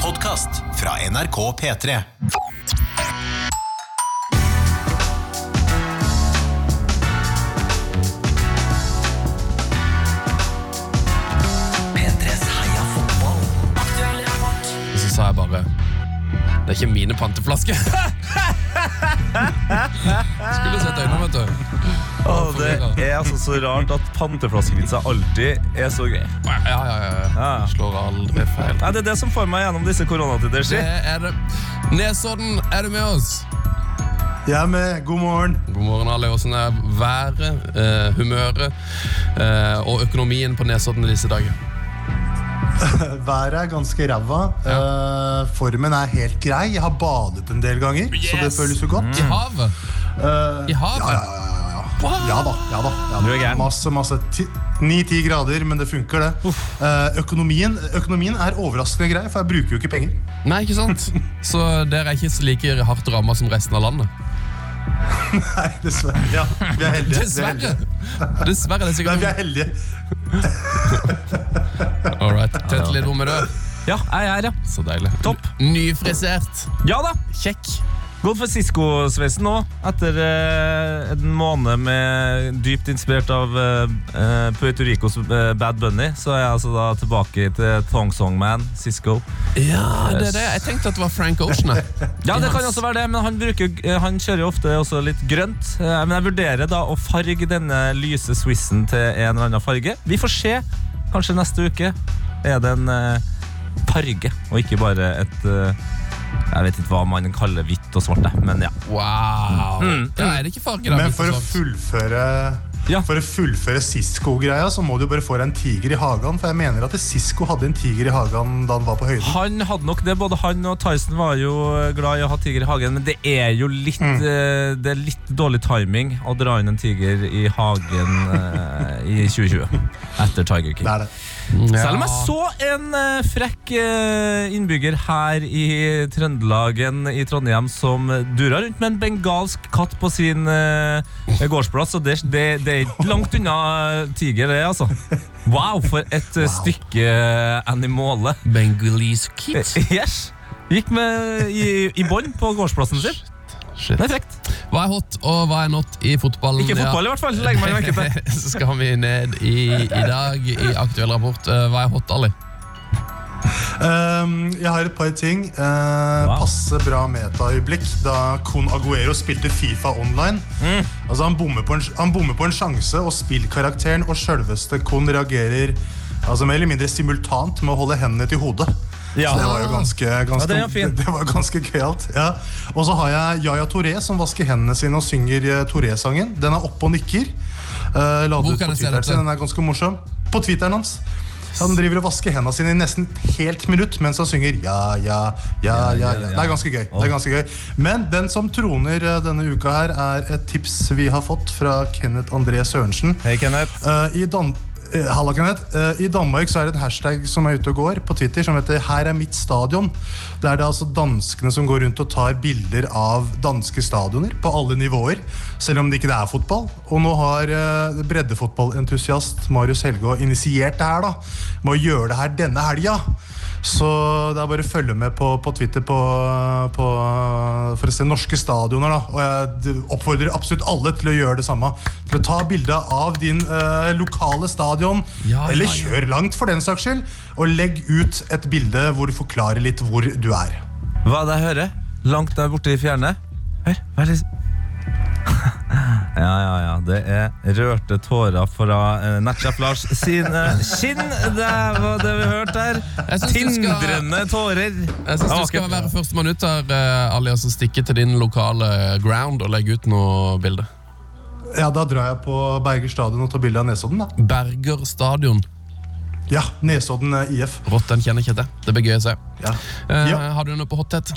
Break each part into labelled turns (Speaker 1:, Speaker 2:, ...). Speaker 1: podkast fra NRK P3.
Speaker 2: Og så sa jeg bare Det er ikke mine panteflasker. Skulle sett øynene, vet du.
Speaker 3: Åh, det er altså så rart at panteflaskevitser alltid er så gøy.
Speaker 2: Ja, ja, ja. ja.
Speaker 3: Ja.
Speaker 2: Slår aldri feil.
Speaker 3: Nei, Det er det som får meg gjennom disse koronatider.
Speaker 2: Det
Speaker 3: si.
Speaker 2: er det. Nesodden, er du med oss?
Speaker 4: Jeg er med. God morgen.
Speaker 2: God morgen, alle. Hvordan er været, eh, humøret eh, og økonomien på Nesodden i disse dager?
Speaker 4: Været er ganske ræva. Eh, formen er helt grei. Jeg har badet en del ganger, så det
Speaker 2: Yes!
Speaker 4: føles jo godt.
Speaker 3: Mm.
Speaker 2: I havet? I havet?
Speaker 4: Mm. Eh, Ja, ja, ja, ja, ja. ja da. ja da, ja
Speaker 3: Du er
Speaker 4: da.
Speaker 3: gæren.
Speaker 4: Masse, masse. Ni-ti grader, men det funker, det. Eh, økonomien, økonomien er overraskende grei, for jeg bruker jo ikke penger.
Speaker 2: Nei, ikke sant? Så dere er ikke like hardt ramma som resten av landet?
Speaker 4: Nei, dessverre. Ja, vi er heldige. Vi er
Speaker 2: Dessverre.
Speaker 4: heldige.
Speaker 2: Dessverre, det er
Speaker 4: Nei, vi
Speaker 2: sikkert
Speaker 4: er heldige.
Speaker 2: All right. Tønt litt hvor med du er.
Speaker 3: Ja, jeg er her, ja.
Speaker 2: Så deilig.
Speaker 3: Topp.
Speaker 2: Nyfrisert.
Speaker 3: Ja da.
Speaker 2: Kjekk.
Speaker 3: Gått for Sisko-sveisen nå, etter eh, en måned med dypt inspirert av eh, eh, Puerto Ricos eh, Bad Bunny. Så er jeg altså da tilbake til Thong Song Man, Sisko.
Speaker 2: Ja, det er det. Jeg tenkte at det var Frank Ocean. jeg.
Speaker 3: Ja, det
Speaker 2: I
Speaker 3: kan
Speaker 2: hans-
Speaker 3: også være det, men han, bruker, eh, han kjører jo ofte også litt grønt. Eh, Men jeg vurderer da å farge denne lyse Swissen til en eller annen farge. Vi får se. Kanskje neste uke er det en eh, farge, og ikke bare et eh, Jeg vet ikke hva man kaller hvitt og svart, jeg, men ja.
Speaker 2: Wow. Ja, er det ikke farge, da?
Speaker 4: Men
Speaker 2: hvis det
Speaker 4: for å
Speaker 2: er sånn?
Speaker 4: fullføre
Speaker 3: Ja.
Speaker 4: For å fullføre Sisko-greia, så må du bare få deg en tiger i hagen. For jeg mener at Sisko hadde en tiger i hagen da han var på høyden.
Speaker 3: Han hadde nok det. Både han og Tyson var jo eh, glad i å ha tiger i hagen, men det er jo litt, eh, det er litt dårlig timing å dra inn en tiger i hagen eh, i 2020. Etter Tiger King.
Speaker 4: Det er det.
Speaker 3: Selv om jeg
Speaker 2: Ja.
Speaker 3: så en eh, frekk eh, innbygger her i Trøndelagen i Trondheim som dura rundt med en bengalsk katt på sin eh, gårdsplass, og det, det, det er ikke langt unna tiger, det, altså. Wow, for et eh, stykke animale.
Speaker 2: Bengalese
Speaker 4: Eh,
Speaker 2: kids.
Speaker 3: Yes. Gikk med i, i bånd på gårdsplassen sin.
Speaker 2: Shit.
Speaker 3: Det er frekt.
Speaker 2: Hva er hot, og hva er not i fotballen?
Speaker 3: Ikke
Speaker 2: Ja.
Speaker 3: fotball, i hvert fall. Legger man merke til.
Speaker 2: Så skal vi ned i, i dag i aktuell rapport. Eh, Hva er hot, Ali?
Speaker 4: Ehm, jeg har et par ting. Uh,
Speaker 3: Wow.
Speaker 4: Passe bra metaøyeblikk da Con Aguero spilte Fifa online.
Speaker 3: Mm.
Speaker 4: Altså han, bommer på en, han bommer på en sjanse, og spillkarakteren og sjølveste Con reagerer Altså mer eller mindre simultant med å holde hendene til hodet.
Speaker 3: Ja.
Speaker 4: Så det var jo ganske,
Speaker 3: Ja,
Speaker 4: ganske,
Speaker 3: den er fin.
Speaker 4: det var ganske gøyalt. Ja. Og så har jeg Yaya Touré som vasker hendene sine og synger eh, Touré-sangen. Den er oppe og nikker. Eh, la
Speaker 2: Hvor
Speaker 4: den ut
Speaker 2: kan
Speaker 4: på
Speaker 2: jeg se
Speaker 4: Twitteren
Speaker 2: dette?
Speaker 4: sin. Den er ganske morsom. På Twitteren hans. Han driver og vasker hendene sine i nesten helt minutt mens han synger ja, ja, ja, ja, ja. Det er ganske gøy. Det er ganske gøy. Men den som troner eh, denne uka her, er et tips vi har fått fra Kenneth André Sørensen.
Speaker 3: Hei, Kenneth.
Speaker 4: Eh, I Dan eh, Halla, Kenneth. Eh, I Danmark så er det en hashtag som er ute og går på Twitter som heter 'Her er mitt stadion'. Det er det altså danskene som går rundt og tar bilder av danske stadioner på alle nivåer. Selv om det ikke er fotball. Og nå har eh, breddefotballentusiast Marius Helgaa initiert det her da med å gjøre det her denne helga. Så det er bare å følge med på, på Twitter på, på, for å se norske stadioner. Da. Og jeg d- oppfordrer absolutt alle til å gjøre det samme. Til å ta bilde av din eh, lokale stadion,
Speaker 2: Ja,
Speaker 4: eller
Speaker 2: ja, ja.
Speaker 4: kjør langt for den saks skyld, og legg ut et bilde hvor du forklarer litt hvor du er.
Speaker 3: Hva er det jeg hører? Langt der borte i fjerne? Hør, hva er det Ja, ja, ja. Det er rørte tårer fra uh, Natchap Lars sine kinn. Det eh, var det vi hørte her.
Speaker 2: Jeg synes du skal-
Speaker 3: Tindrende tårer.
Speaker 2: Jeg
Speaker 4: Ah,
Speaker 2: synes Du
Speaker 3: Ja,
Speaker 2: skal
Speaker 3: vakkert.
Speaker 2: være førstemann ut her, eh, Ali, og så stikke til din lokale ground og legge ut noe bilde.
Speaker 4: Ja, da drar jeg på Berger stadion og tar bilde av Nesodden, da.
Speaker 2: Berger stadion.
Speaker 4: Ja, Nesodden eh, IF.
Speaker 2: Rått, den kjenner ikke jeg til. Det blir gøy å se.
Speaker 4: Ja.
Speaker 2: Eh,
Speaker 4: Ja.
Speaker 2: Har du noe på hothet?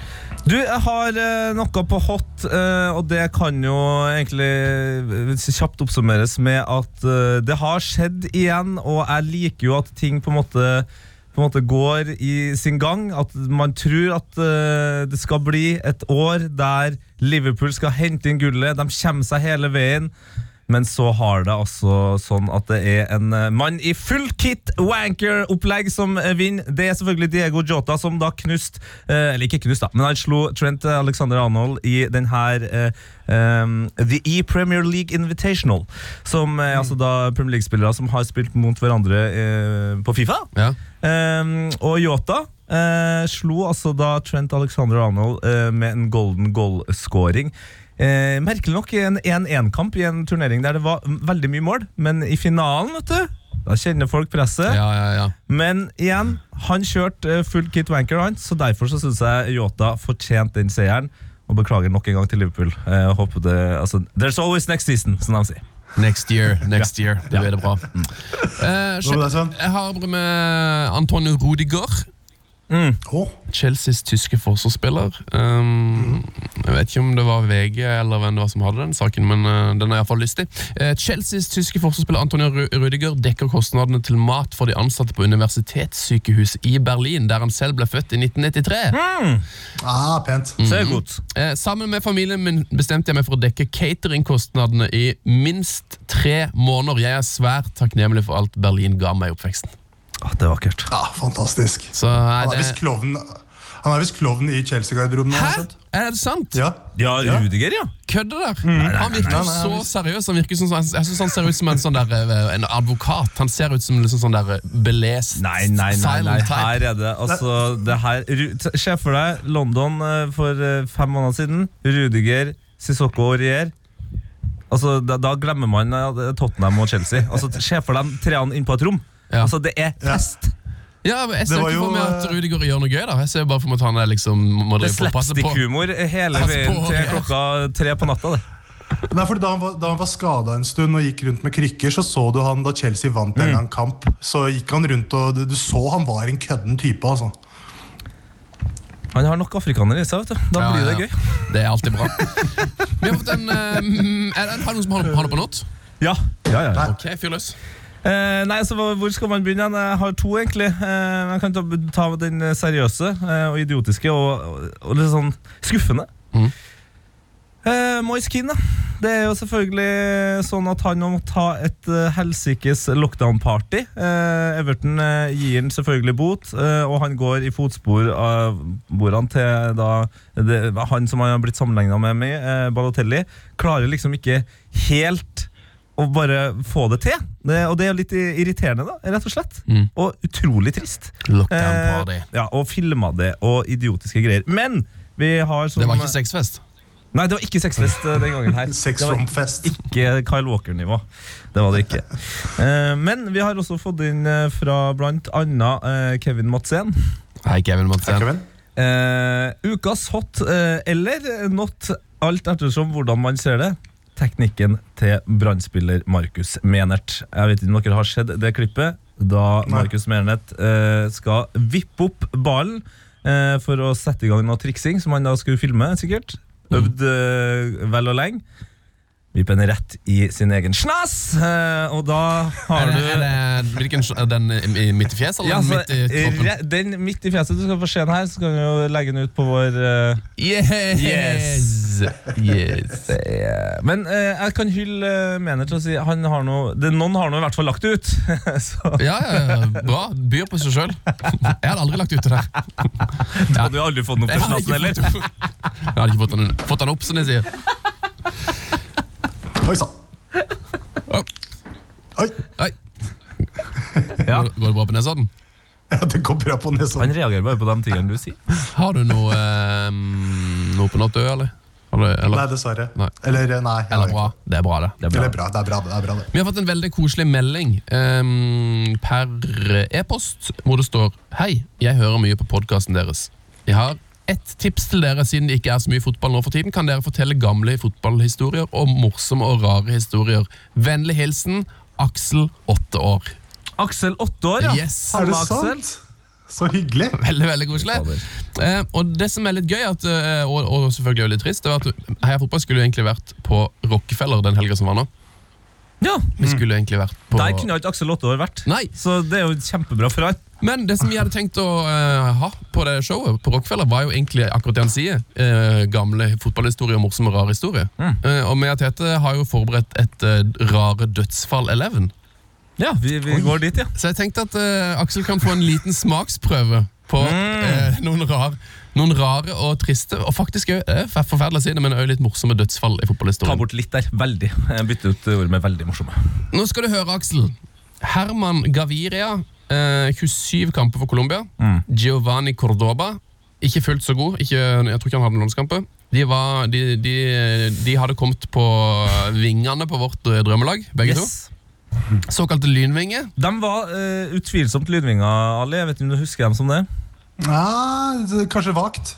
Speaker 3: Du, jeg har eh, noe på hot, eh, og det kan jo egentlig eh, kjapt oppsummeres med at eh, det har skjedd igjen, og jeg liker jo at ting på en måte på en måte går i sin gang. At man tror at eh, det skal bli et år der Liverpool skal hente inn gullet. De kommer seg hele veien. Men så har det altså sånn at det er en eh, mann i full kit wanker-opplegg som eh, vinner. Det er selvfølgelig Diego Jota som da knust eh, Eller ikke knust, da, men han slo Trent Alexander Arnold i den her eh, ehm, The E Premier League Invitational. Som er altså da Premier League-spillere som har spilt mot hverandre eh, på Fifa.
Speaker 2: Ja.
Speaker 3: Ehm, og Yota eh, slo altså da Trent Alexander Arnold eh, med en golden goal-scoring. Eh, merkelig nok i en 1-1-kamp i en turnering der det var m- veldig mye mål, men i finalen, vet du da kjenner folk presset.
Speaker 2: ja, ja, ja.
Speaker 3: Men igjen, han kjørte eh, full kit wanker, han, så derfor så syns jeg Yota fortjente den seieren. Og beklager nok en gang til Liverpool. Eh, håper det, altså, There's always next season, som de sier.
Speaker 2: Next year, next year. Da blir det bra. Eh,
Speaker 4: Hva var det, Sven?
Speaker 2: jeg har med Antonio Rudiger.
Speaker 4: Å,
Speaker 2: Chelseas tyske forsvarsspiller. Um, jeg vet ikke om det var VG eller hvem det var som hadde den saken, men uh, den er iallfall lystig. Uh, Chelseas tyske forsvarsspiller Antonio Ru- Rudiger dekker kostnadene til mat for de ansatte på universitetssykehuset i Berlin, der han selv ble født i 1993.
Speaker 4: ah, pent.
Speaker 3: Så er det godt.
Speaker 2: Eh, sammen med familien min bestemte jeg meg for å dekke cateringkostnadene i minst tre måneder. Jeg er svært takknemlig for alt Berlin ga meg i oppveksten.
Speaker 3: Ah, det er vakkert.
Speaker 4: Ja, fantastisk.
Speaker 2: Så er
Speaker 4: Han er
Speaker 2: det
Speaker 4: visst klovnen Han er visst klovnen i Chelsea-garderoben. nå, har
Speaker 2: Hæ?
Speaker 4: jeg skjønt.
Speaker 2: Er det sant?
Speaker 4: Ja.
Speaker 3: Ja,
Speaker 4: Ja.
Speaker 3: Rudiger, ja.
Speaker 2: kødder der. han virker
Speaker 4: nei, nei,
Speaker 2: så
Speaker 4: nei.
Speaker 2: seriøs. Han virker som, jeg synes han ser ut som en, sånn der, eh, en advokat. Han ser ut som liksom sånn der eh, belest,
Speaker 3: Nei, nei, nei, nei.
Speaker 2: silent type.
Speaker 3: her er det altså det her, Ru- t- Se for deg London eh, for eh, fem måneder siden. Rudiger, Sissoko og Rier. Altså, da, da glemmer man eh, Tottenham og Chelsea. Altså, t- Se for deg de treene inn på et rom.
Speaker 2: Ja.
Speaker 3: Altså, det er fest.
Speaker 2: Ja, men jeg ser
Speaker 4: Det var
Speaker 2: ikke for
Speaker 4: jo,
Speaker 2: meg at
Speaker 4: eh,
Speaker 2: Rudiger gjør noe gøy. da Jeg ser bare for meg at han er liksom må
Speaker 3: Det er
Speaker 2: drive på, passe på.
Speaker 3: slapstick-humor hele
Speaker 2: Pass
Speaker 3: veien
Speaker 2: på,
Speaker 3: til
Speaker 2: ja.
Speaker 3: klokka tre på natta. det.
Speaker 4: Nei, fordi da han var, da han var skada en stund og gikk rundt med krykker, så så du han da Chelsea vant en eller annen kamp. Så gikk han rundt og du, du så han var en kødden type. altså.
Speaker 3: Han har nok afrikanere i seg. vet du. Da
Speaker 2: Ja,
Speaker 3: blir det
Speaker 2: ja.
Speaker 3: gøy.
Speaker 2: Det er alltid bra. Vi har fått en eh, mm, Er det er det noen som har har det på not?
Speaker 3: Ja, ja, ja, ja.
Speaker 2: Ok, fyr løs.
Speaker 3: Eh, nei, så hva- Hvor skal man begynne? igjen? Jeg har to, egentlig. Eh, jeg kan ta, ta den seriøse eh, og idiotiske og, og, og litt sånn skuffende.
Speaker 2: Mhm.
Speaker 3: Eh, Moise Keane, da. Det er jo selvfølgelig sånn at han nå må ta et eh, helsikes lockdown-party. Eh, Everton eh, gir han selvfølgelig bot, eh, og han går i fotspor av sporene til da det, han som han har blitt sammenligna med, med eh, Balotelli. Klarer liksom ikke helt å bare få det til. Det, og det er jo litt i- irriterende, da, rett og slett.
Speaker 2: Mm.
Speaker 3: Og utrolig trist.
Speaker 2: Lockdown party.
Speaker 3: Eh, ja, Og filma det, og idiotiske greier. Men vi har sånn, som
Speaker 2: Det var ikke sexfest.
Speaker 3: Nei, det var ikke sexfest eh, den gangen her.
Speaker 4: Sex
Speaker 3: Det var
Speaker 4: from fest.
Speaker 3: ikke Kyle Walker-nivå. Det var det ikke. Eh, men vi har også fått inn eh, fra blant annet eh, Kevin Madsen.
Speaker 2: Hei, Kevin Madsen.
Speaker 3: Eh, ukas hot eh, eller not, alt ettersom hvordan man ser det. Teknikken til brannspiller Markus Menert. Jeg vet ikke om dere har sett det klippet da
Speaker 4: Nei.
Speaker 3: Markus Menert eh, skal vippe opp ballen eh, for å sette i gang noe triksing, som han da skulle filme, sikkert.
Speaker 2: Mm.
Speaker 3: Øvd eh, vel og lenge. Vipper den rett i sin egen snas, eh, og da
Speaker 2: Er
Speaker 3: har
Speaker 2: det,
Speaker 3: du
Speaker 2: Eh, er det, hvilken, er den i- i- midt i fjeset eller
Speaker 3: Ja, altså,
Speaker 2: midt i kroppen?
Speaker 3: re- den midt i fjeset. Du skal få se den her, så kan vi jo legge den ut på vår eh,
Speaker 2: Yes! yes.
Speaker 3: Det er- Men eh, jeg kan hylle eh, Mener til å si han har noe, det, Noen har noe i hvert fall lagt ut. så
Speaker 2: Ja, ja, ja, bra. Byr på seg sjøl. Jeg hadde aldri lagt ut det sånn der.
Speaker 3: ja, du har aldri fått noe
Speaker 2: Jeg hadde ikke fått, jeg hadde ikke fått, den, fått den opp, som de sier.
Speaker 4: Oi sann.
Speaker 2: Å,
Speaker 4: Oi.
Speaker 2: Oi.
Speaker 3: Ja.
Speaker 2: Går, går det bra på Nesodden?
Speaker 4: Ja, det går bra på nesa.
Speaker 3: Han reagerer bare på de tingene du sier.
Speaker 2: Har du noe, eh, noe på Nattøy, eller? Har du,
Speaker 4: Nei,
Speaker 2: eller?
Speaker 4: dessverre.
Speaker 2: Nei.
Speaker 4: Eller eh, nei. jeg
Speaker 2: eller
Speaker 4: vet
Speaker 2: bra?
Speaker 4: ikke.
Speaker 2: Det er bra, det.
Speaker 3: Det er
Speaker 4: Eller
Speaker 3: bra.
Speaker 4: bra. Det er bra, det. er bra det.
Speaker 2: Vi har fått en veldig koselig melding eh, per e-post, hvor det står Hei, jeg hører mye på podkasten deres. Jeg har ett tips til dere, siden det ikke er så mye fotball nå for tiden. Kan dere fortelle gamle fotballhistorier og morsomme og rare historier? Vennlig hilsen Aksel, åtte år.
Speaker 3: Aksel, åtte år, ja.
Speaker 2: Yes.
Speaker 3: Hallo,
Speaker 4: Er det
Speaker 3: Aksel.
Speaker 4: sant? Så hyggelig.
Speaker 2: Veldig, veldig koselig. Eh, og det som er litt gøy, at, eh, og, og selvfølgelig er det litt trist, det var at Heia Fotball skulle jo egentlig vært på Rockefeller den helga som var nå.
Speaker 3: Ja,
Speaker 2: Vi skulle egentlig vært på
Speaker 3: Der kunne jo ikke Aksel åtte år vært.
Speaker 2: Nei.
Speaker 3: Så det er jo kjempebra for han.
Speaker 2: Men det som jeg hadde tenkt å eh, ha på det showet, på Rockefeller, var jo egentlig akkurat det han sier. eh, gamle fotballhistorier og morsomme rare historier. Eh, og vi og Tete har jo forberedt et eh, rare dødsfall-eleven.
Speaker 3: Ja, vi, vi går dit, ja.
Speaker 2: Så jeg tenkte at eh, Aksel kan få en liten smaksprøve på eh, noen, rar, noen rare og triste, og faktisk òg forferdelig å si det, men òg litt morsomme dødsfall i
Speaker 3: Ta
Speaker 2: fotballhistorien.
Speaker 3: bort litt der. Veldig. Jeg bytter ut ord med veldig morsomme.
Speaker 2: Nå skal du høre, Aksel. Herman Gaviria, eh, 27 kamper for Colombia.
Speaker 3: Mm.
Speaker 2: Giovanni Cordoba, ikke fullt så god. Ikke, jeg tror ikke han hadde noen landskamper. De, var, de, de, de hadde kommet på vingene på vårt eh, drømmelag, begge
Speaker 3: Yes.
Speaker 2: to. Såkalte lynvinger.
Speaker 3: De var eh, utvilsomt lydvinger, Ali. Jeg vet ikke om du husker dem som det?
Speaker 4: Ja, det- kanskje vagt.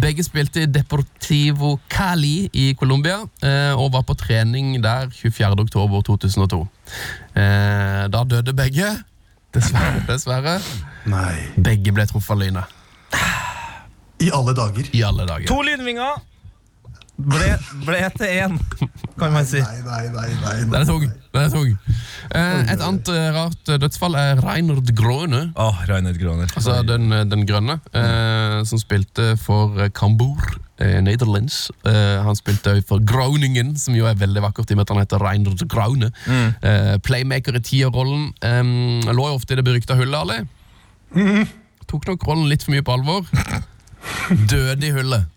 Speaker 2: Begge spilte i Deportivo Cali i Colombia eh, og var på trening der 24.10.2002. Eh, da døde begge. Dessverre. dessverre.
Speaker 4: Nei.
Speaker 2: Begge ble truffet av lynet
Speaker 4: I alle dager.
Speaker 2: i alle dager.
Speaker 3: To lydvinger ble, ble til én, kan man si.
Speaker 4: Nei, nei, nei. nei, nei.
Speaker 2: Den er tung. Den er tung. Eh, et annet eh, rart eh, dødsfall er Reinhard Grøne.
Speaker 3: Åh, Reinhard Groner.
Speaker 2: Altså den, den grønne, eh, som spilte for eh, Cambuur, eh, Netherlands. Eh, han spilte også for Groningen, som jo er veldig vakkert i og med at han heter Reinhard Graune. Eh, playmaker i tierrollen. Eh, lå jo ofte i det berykta hullet, Ali. Tok nok rollen litt for mye på alvor. Døde i hullet.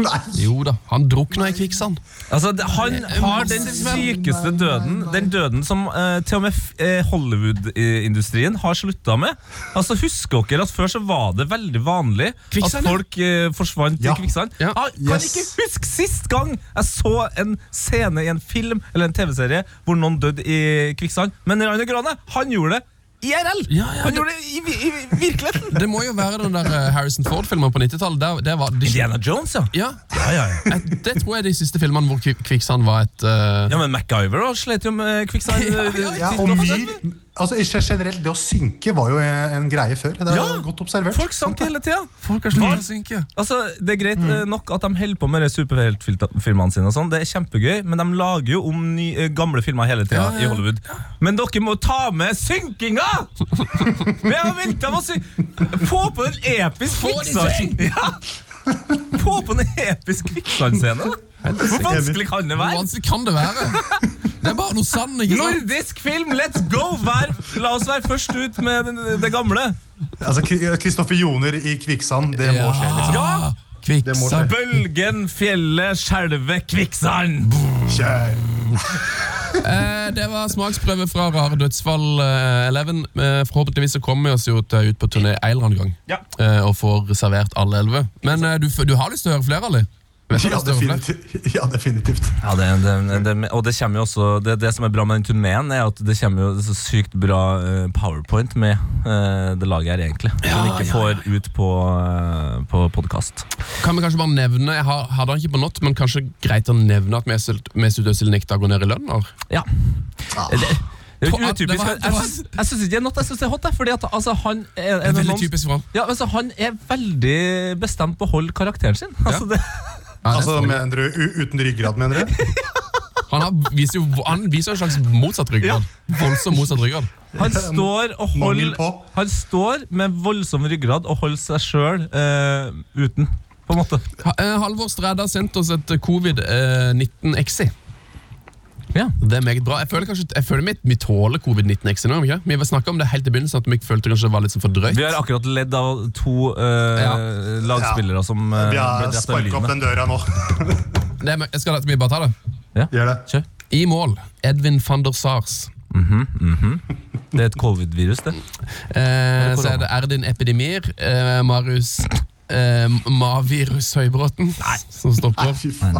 Speaker 4: nei.
Speaker 2: Jo da, han drukna i kvikksand.
Speaker 3: Altså, det- Han har den sykeste døden. Den døden som eh, til og med f- eh, Hollywood-industrien har slutta med. Altså, Husker dere at før så var det veldig vanlig
Speaker 2: Kvikksand,
Speaker 3: at
Speaker 2: ja.
Speaker 3: folk eh, forsvant
Speaker 4: Ja.
Speaker 3: i kvikksand?
Speaker 2: Ja.
Speaker 3: Jeg kan
Speaker 4: Yes.
Speaker 3: ikke huske sist gang jeg så en scene i en film eller en TV-serie hvor noen døde i kvikksand. Men Rainer Grane, han gjorde det. IRL!
Speaker 2: Ja, ja,
Speaker 3: han
Speaker 2: det-
Speaker 3: gjorde det i, vi- i virkeligheten!
Speaker 2: Det må jo være den der eh, Harrison Ford-filmen på 90-tallet. Der, der var det-
Speaker 3: Indiana Jones, ja.
Speaker 2: Ja,
Speaker 3: Ja, ja, ja.
Speaker 2: jeg- det tror jeg er de siste filmene hvor kvik- kvikksand var et eh,
Speaker 3: ja men MacGyver da, slet jo med eh, kvikksand.
Speaker 4: Ja, og myr altså, ikke generelt, Det å synke var jo en greie før. Det er
Speaker 3: Ja.
Speaker 4: godt observert.
Speaker 3: Folk sank hele tida.
Speaker 2: Folk har sluttet å synke.
Speaker 3: Altså, Det er greit
Speaker 2: Mm.
Speaker 3: eh, nok at de holder på med de superheltfilmene sine, og sånn, det er kjempegøy, men de lager jo om ny, eh, gamle filmer hele
Speaker 2: Ja,
Speaker 3: tida
Speaker 2: ja, ja.
Speaker 3: i Hollywood. Men dere må ta med synkinga! Vi har venta med å synke! Få på en episk
Speaker 2: Få de
Speaker 3: kvikksand! Ja. Få på en episk kvikksand-scene! da. Hvor vanskelig kan det
Speaker 2: Hvor
Speaker 3: være?
Speaker 2: vanskelig kan det være? Det er bare noe sand, ikke sant?
Speaker 3: Nordisk film, let's go! Vær, la oss være først ut med den- det gamle.
Speaker 4: Altså, Kri- Kristoffer Joner i kvikksand, det må skje. liksom.
Speaker 2: Ah.
Speaker 3: Ja!
Speaker 4: Det må
Speaker 2: Kvikksand.
Speaker 4: skje.
Speaker 3: Bølgen, fjellet, skjelvet, kvikksand!
Speaker 4: Kjør.
Speaker 2: Eh, det var smaksprøve fra Rare dødsfall eh, 11. Eh, forhåpentligvis så kommer vi oss jo til, ut på turné en eller annen gang
Speaker 3: Ja.
Speaker 2: eh, og får servert alle elleve. Men eh, du, f- du har lyst til å høre flere, Ali? Vet du
Speaker 4: Ja,
Speaker 2: hva det står for flere?
Speaker 4: definitivt. Ja, definitivt.
Speaker 3: Ja, det, det, det, og det kommer jo også det, det som er bra med den turneen, er at det kommer jo så sykt bra eh, powerpoint med eh, det laget her, egentlig. Som vi ikke får ut på, eh, på podkast.
Speaker 2: Kan vi kanskje bare nevne, jeg har, hadde han ikke på nått, men kanskje greit å nevne at Mesut Mesut Özil nekta å gå ned i lønn? eller?
Speaker 3: Ja. Det, det er jo
Speaker 2: Det var-
Speaker 3: utypisk.
Speaker 2: Ah. det var-
Speaker 3: Jeg- Jeg syns- jeg syns ikke det er noe jeg syns det er hot, jeg, fordi at altså, han er, er
Speaker 2: Det er
Speaker 3: noen-
Speaker 2: veldig typisk for han.
Speaker 3: Ja, altså, Han er veldig bestemt på å holde karakteren sin. Altså, det,
Speaker 2: Ja, det er
Speaker 4: Altså,
Speaker 2: sånn.
Speaker 4: mener du u- uten ryggrad, mener du?
Speaker 2: han, har, viser jo, han viser jo en slags motsatt ryggrad. Voldsom motsatt ryggrad.
Speaker 3: Han står og holder
Speaker 4: Mangel på.
Speaker 3: Han står med voldsom ryggrad og holder seg sjøl eh, uten, på en måte.
Speaker 2: Ha- eh, Halvor Stræda har sendt oss et eh, covid-19-exi.
Speaker 3: Ja.
Speaker 2: Det er meget bra. Jeg føler kanskje, jeg føler vi, vi tåler covid-19-exi nå. Ikke? Vi snakka om det helt i begynnelsen, at vi følte kanskje det var litt sånn for drøyt.
Speaker 3: Vi har akkurat ledd av to eh,
Speaker 2: Ja.
Speaker 3: lagspillere som eh,
Speaker 4: Vi har
Speaker 3: ble drept av
Speaker 4: sparka opp
Speaker 3: lynet.
Speaker 4: den døra nå.
Speaker 2: Det er, jeg skal, vi bare ta det.
Speaker 4: Gjør det.
Speaker 3: Kjør.
Speaker 2: I mål, Edvin van der Sars.
Speaker 3: Det er et covid-virus, det.
Speaker 2: Eh,
Speaker 3: korona.
Speaker 2: så er det Erdin Epidemir, eh, Marius eh, Mavirus Høybråten, som står på.
Speaker 4: Fy faen.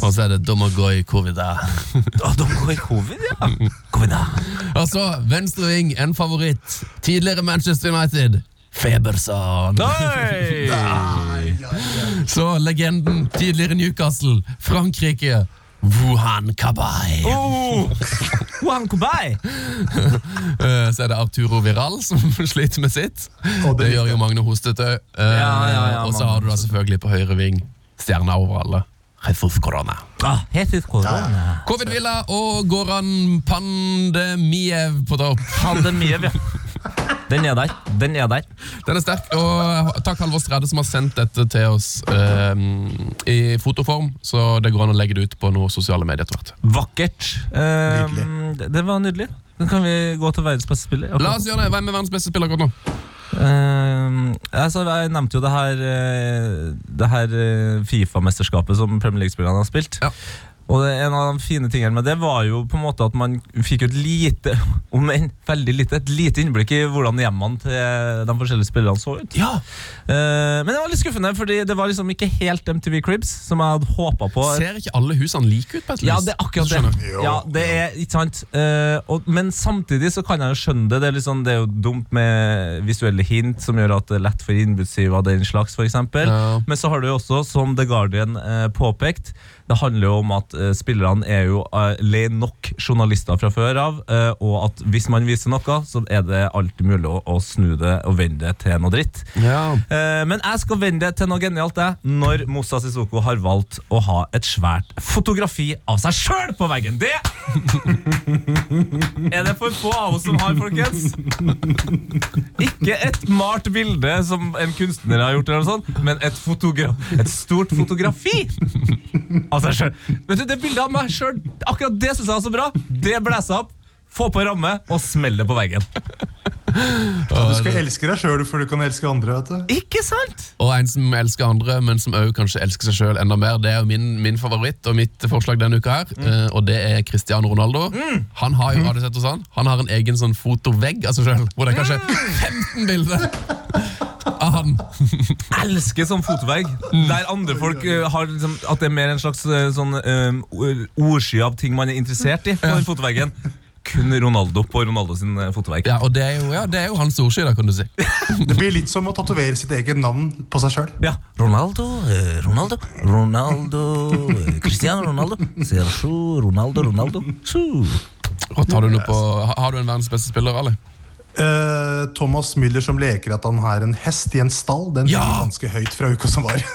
Speaker 2: Og så er det Domagoj Covida.
Speaker 3: Å, Ah, de går covid, ja! Covid, ja.
Speaker 2: Og så venstreving, en favoritt. Tidligere Manchester United, Feberson. Så legenden, tidligere Newcastle, Frankrike, Wuhan Kabay.
Speaker 3: Oh! Juan Kobay!
Speaker 2: Eh, Så er det Arturo Viral som sliter med sitt.
Speaker 4: Og
Speaker 2: Det
Speaker 4: det
Speaker 2: gjør jo Magne Hostete. Eh,
Speaker 3: Ja, ja, ja,
Speaker 2: Og så har du da selvfølgelig på høyre ving stjerna over alle. Jesus korona.
Speaker 3: Ah, helt ut korona.
Speaker 2: Covid-villa og Goran Pandemiev på topp.
Speaker 3: Pandemiev, ja. Den er der. Den er der.
Speaker 2: Den er sterk, og takk Halvor Stredde som har sendt dette til oss eh, i fotoform, så det går an å legge det ut på noen sosiale medier etter hvert.
Speaker 3: Vakkert. Eh, det, det var nydelig. Nå kan vi gå til verdens beste spiller. Ok.
Speaker 2: La oss gjøre det! Hvem er verdens beste spiller akkurat nå?
Speaker 3: Eh, altså, jeg nevnte jo det her, eh, det her eh, Fifa-mesterskapet som Premier League-spillerne har spilt.
Speaker 2: Ja.
Speaker 3: Og det, en av de fine tingene med det var jo på en måte at man fikk jo et lite, om enn veldig lite, et lite innblikk i hvordan hjemmene til de forskjellige spillerne så ut.
Speaker 2: Ja!
Speaker 3: Eh, men det var litt skuffende, fordi det var liksom ikke helt MTV Cribs, som jeg hadde håpa på.
Speaker 2: Ser ikke alle husene like ut på et vis?
Speaker 3: Ja, det er akkurat
Speaker 2: Skjønner.
Speaker 3: det. Ja, det er ikke sant Eh, og, Men samtidig så kan jeg jo skjønne det. Det er, litt sånn, det er jo dumt med visuelle hint, som gjør at det er lett for innbudssiv av den slags, f.eks.
Speaker 2: Ja.
Speaker 3: Men så har du jo også, som The Guardian eh, påpekt, det handler jo om at eh, spillerne er jo eh, le nok journalister fra før av, eh, og at hvis man viser noe, så er det alltid mulig å, å snu det og vende det til noe dritt.
Speaker 2: Ja.
Speaker 3: Eh, Men jeg skal vende det til noe genialt det, når Moussa Sissoko har valgt å ha et svært fotografi av seg sjøl på veggen. Det er det for få av oss som har, folkens. Ikke et malt bilde som en kunstner har gjort, eller noe sånt, men et, fotogra et stort fotografi av seg sjøl. Vet du, Det bildet av meg sjøl, akkurat det syns jeg var så bra. Det blåser opp. Få på ramme og smell det på veggen.
Speaker 4: Du skal elske deg sjøl før du kan elske andre. vet du
Speaker 3: Ikke sant?
Speaker 2: Og en som elsker andre, men som også kanskje elsker seg sjøl enda mer. Det er jo min, min favoritt og mitt forslag denne uka, her
Speaker 3: Mm.
Speaker 2: eh, og det er Cristiano Ronaldo. Han har jo har du sett hos han Han har en egen sånn fotovegg av seg sjøl, hvor det er kanskje
Speaker 3: Mm.
Speaker 2: 15 bilder av han.
Speaker 3: elsker sånn fotovegg. Der andre folk eh, har liksom, At det er mer en slags eh, sånn eh, ordsky av ting man er interessert i. På den fotoveggen Kun Ronaldo på Ronaldo sin eh, fotovegg.
Speaker 2: Ja, og det er jo, ja, det er jo hans ordsky, da, kan du si.
Speaker 4: Det blir litt som å tatovere sitt eget navn på seg sjøl.
Speaker 3: Ja.
Speaker 5: Ronaldo, eh, Ronaldo, Ronaldo, eh, Cristiano Ronaldo, Sergio Ronaldo, Ronaldo. Su.
Speaker 2: Rått, har, du noe på, ha- har du en verdens beste spiller, Ali?
Speaker 4: Eh, Thomas Müller som leker at han har en hest i en stall. Den
Speaker 2: Ja!
Speaker 4: ligger ganske høyt fra uka som var.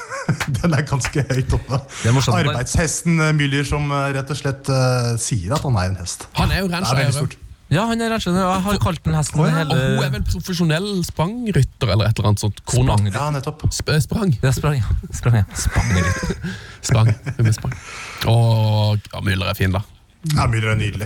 Speaker 4: Den er ganske høyt oppe.
Speaker 3: er morsomt, det der.
Speaker 4: Arbeidshesten eh, Müller som eh, rett og slett eh, sier at han er en hest.
Speaker 2: Han er jo
Speaker 4: Det er veldig
Speaker 2: rancheier.
Speaker 4: stort.
Speaker 3: ja, han er rett og slett Jeg har kalt den hesten
Speaker 4: Å, ja.
Speaker 2: Og hun er
Speaker 3: hele
Speaker 2: vel profesjonell sprangrytter eller et eller annet sånt. Kona.
Speaker 3: Sprang.
Speaker 4: Ja, nettopp.
Speaker 2: Sp eh, sprang.
Speaker 3: Ja, sprang, ja. Sprang, ja. Sprang litt.
Speaker 2: Sprang. Hun er sprang. Og ja, Müller er fin, da.
Speaker 4: Ja, Müller er nydelig.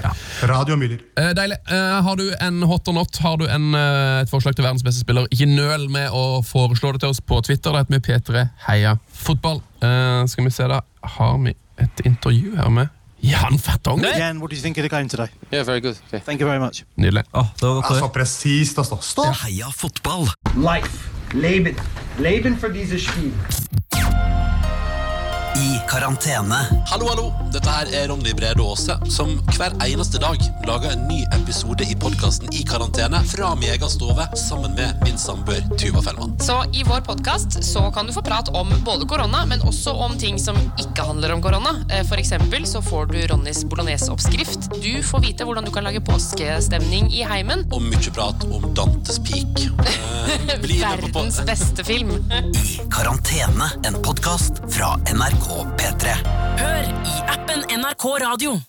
Speaker 4: Radio Müller.
Speaker 2: Eh, Deilig. Eh, har du en hot or not? Har du en, eh, et forslag til verdens beste spiller? Ikke nøl med å foreslå det til oss på Twitter. Det heter vi P3 Heia Fotball. Eh, skal vi se, da. Har vi et intervju her med Jan Fertong?
Speaker 6: Jan, what do you think of the game today?
Speaker 7: Yeah, very good. Okay.
Speaker 6: Thank you very much.
Speaker 2: Nydelig.
Speaker 3: Å, det var godt å
Speaker 4: Ja, så
Speaker 3: høre.
Speaker 4: presist, altså. Stopp!
Speaker 5: Heia fotball!
Speaker 8: Life. Leben. Leben für dieses Spiel.
Speaker 5: I karantene.
Speaker 9: Hallo, hallo! Dette her er Ronny Brede Aase, som hver eneste dag lager en ny episode i podkasten I karantene fra min egen stove sammen med min samboer Tuva Fellmann.
Speaker 10: Så i vår podkast så kan du få prat om både korona, men også om ting som ikke handler om korona. Eh, For eksempel så får du Ronnys bolognese-oppskrift. Du får vite hvordan du kan lage påskestemning i heimen.
Speaker 9: Og mye prat om Dantes Peak. Eh, bli med på pod-
Speaker 10: Verdens beste film.
Speaker 5: I karantene, en podkast fra NRK P3.
Speaker 11: Hør i appen NRK Radio.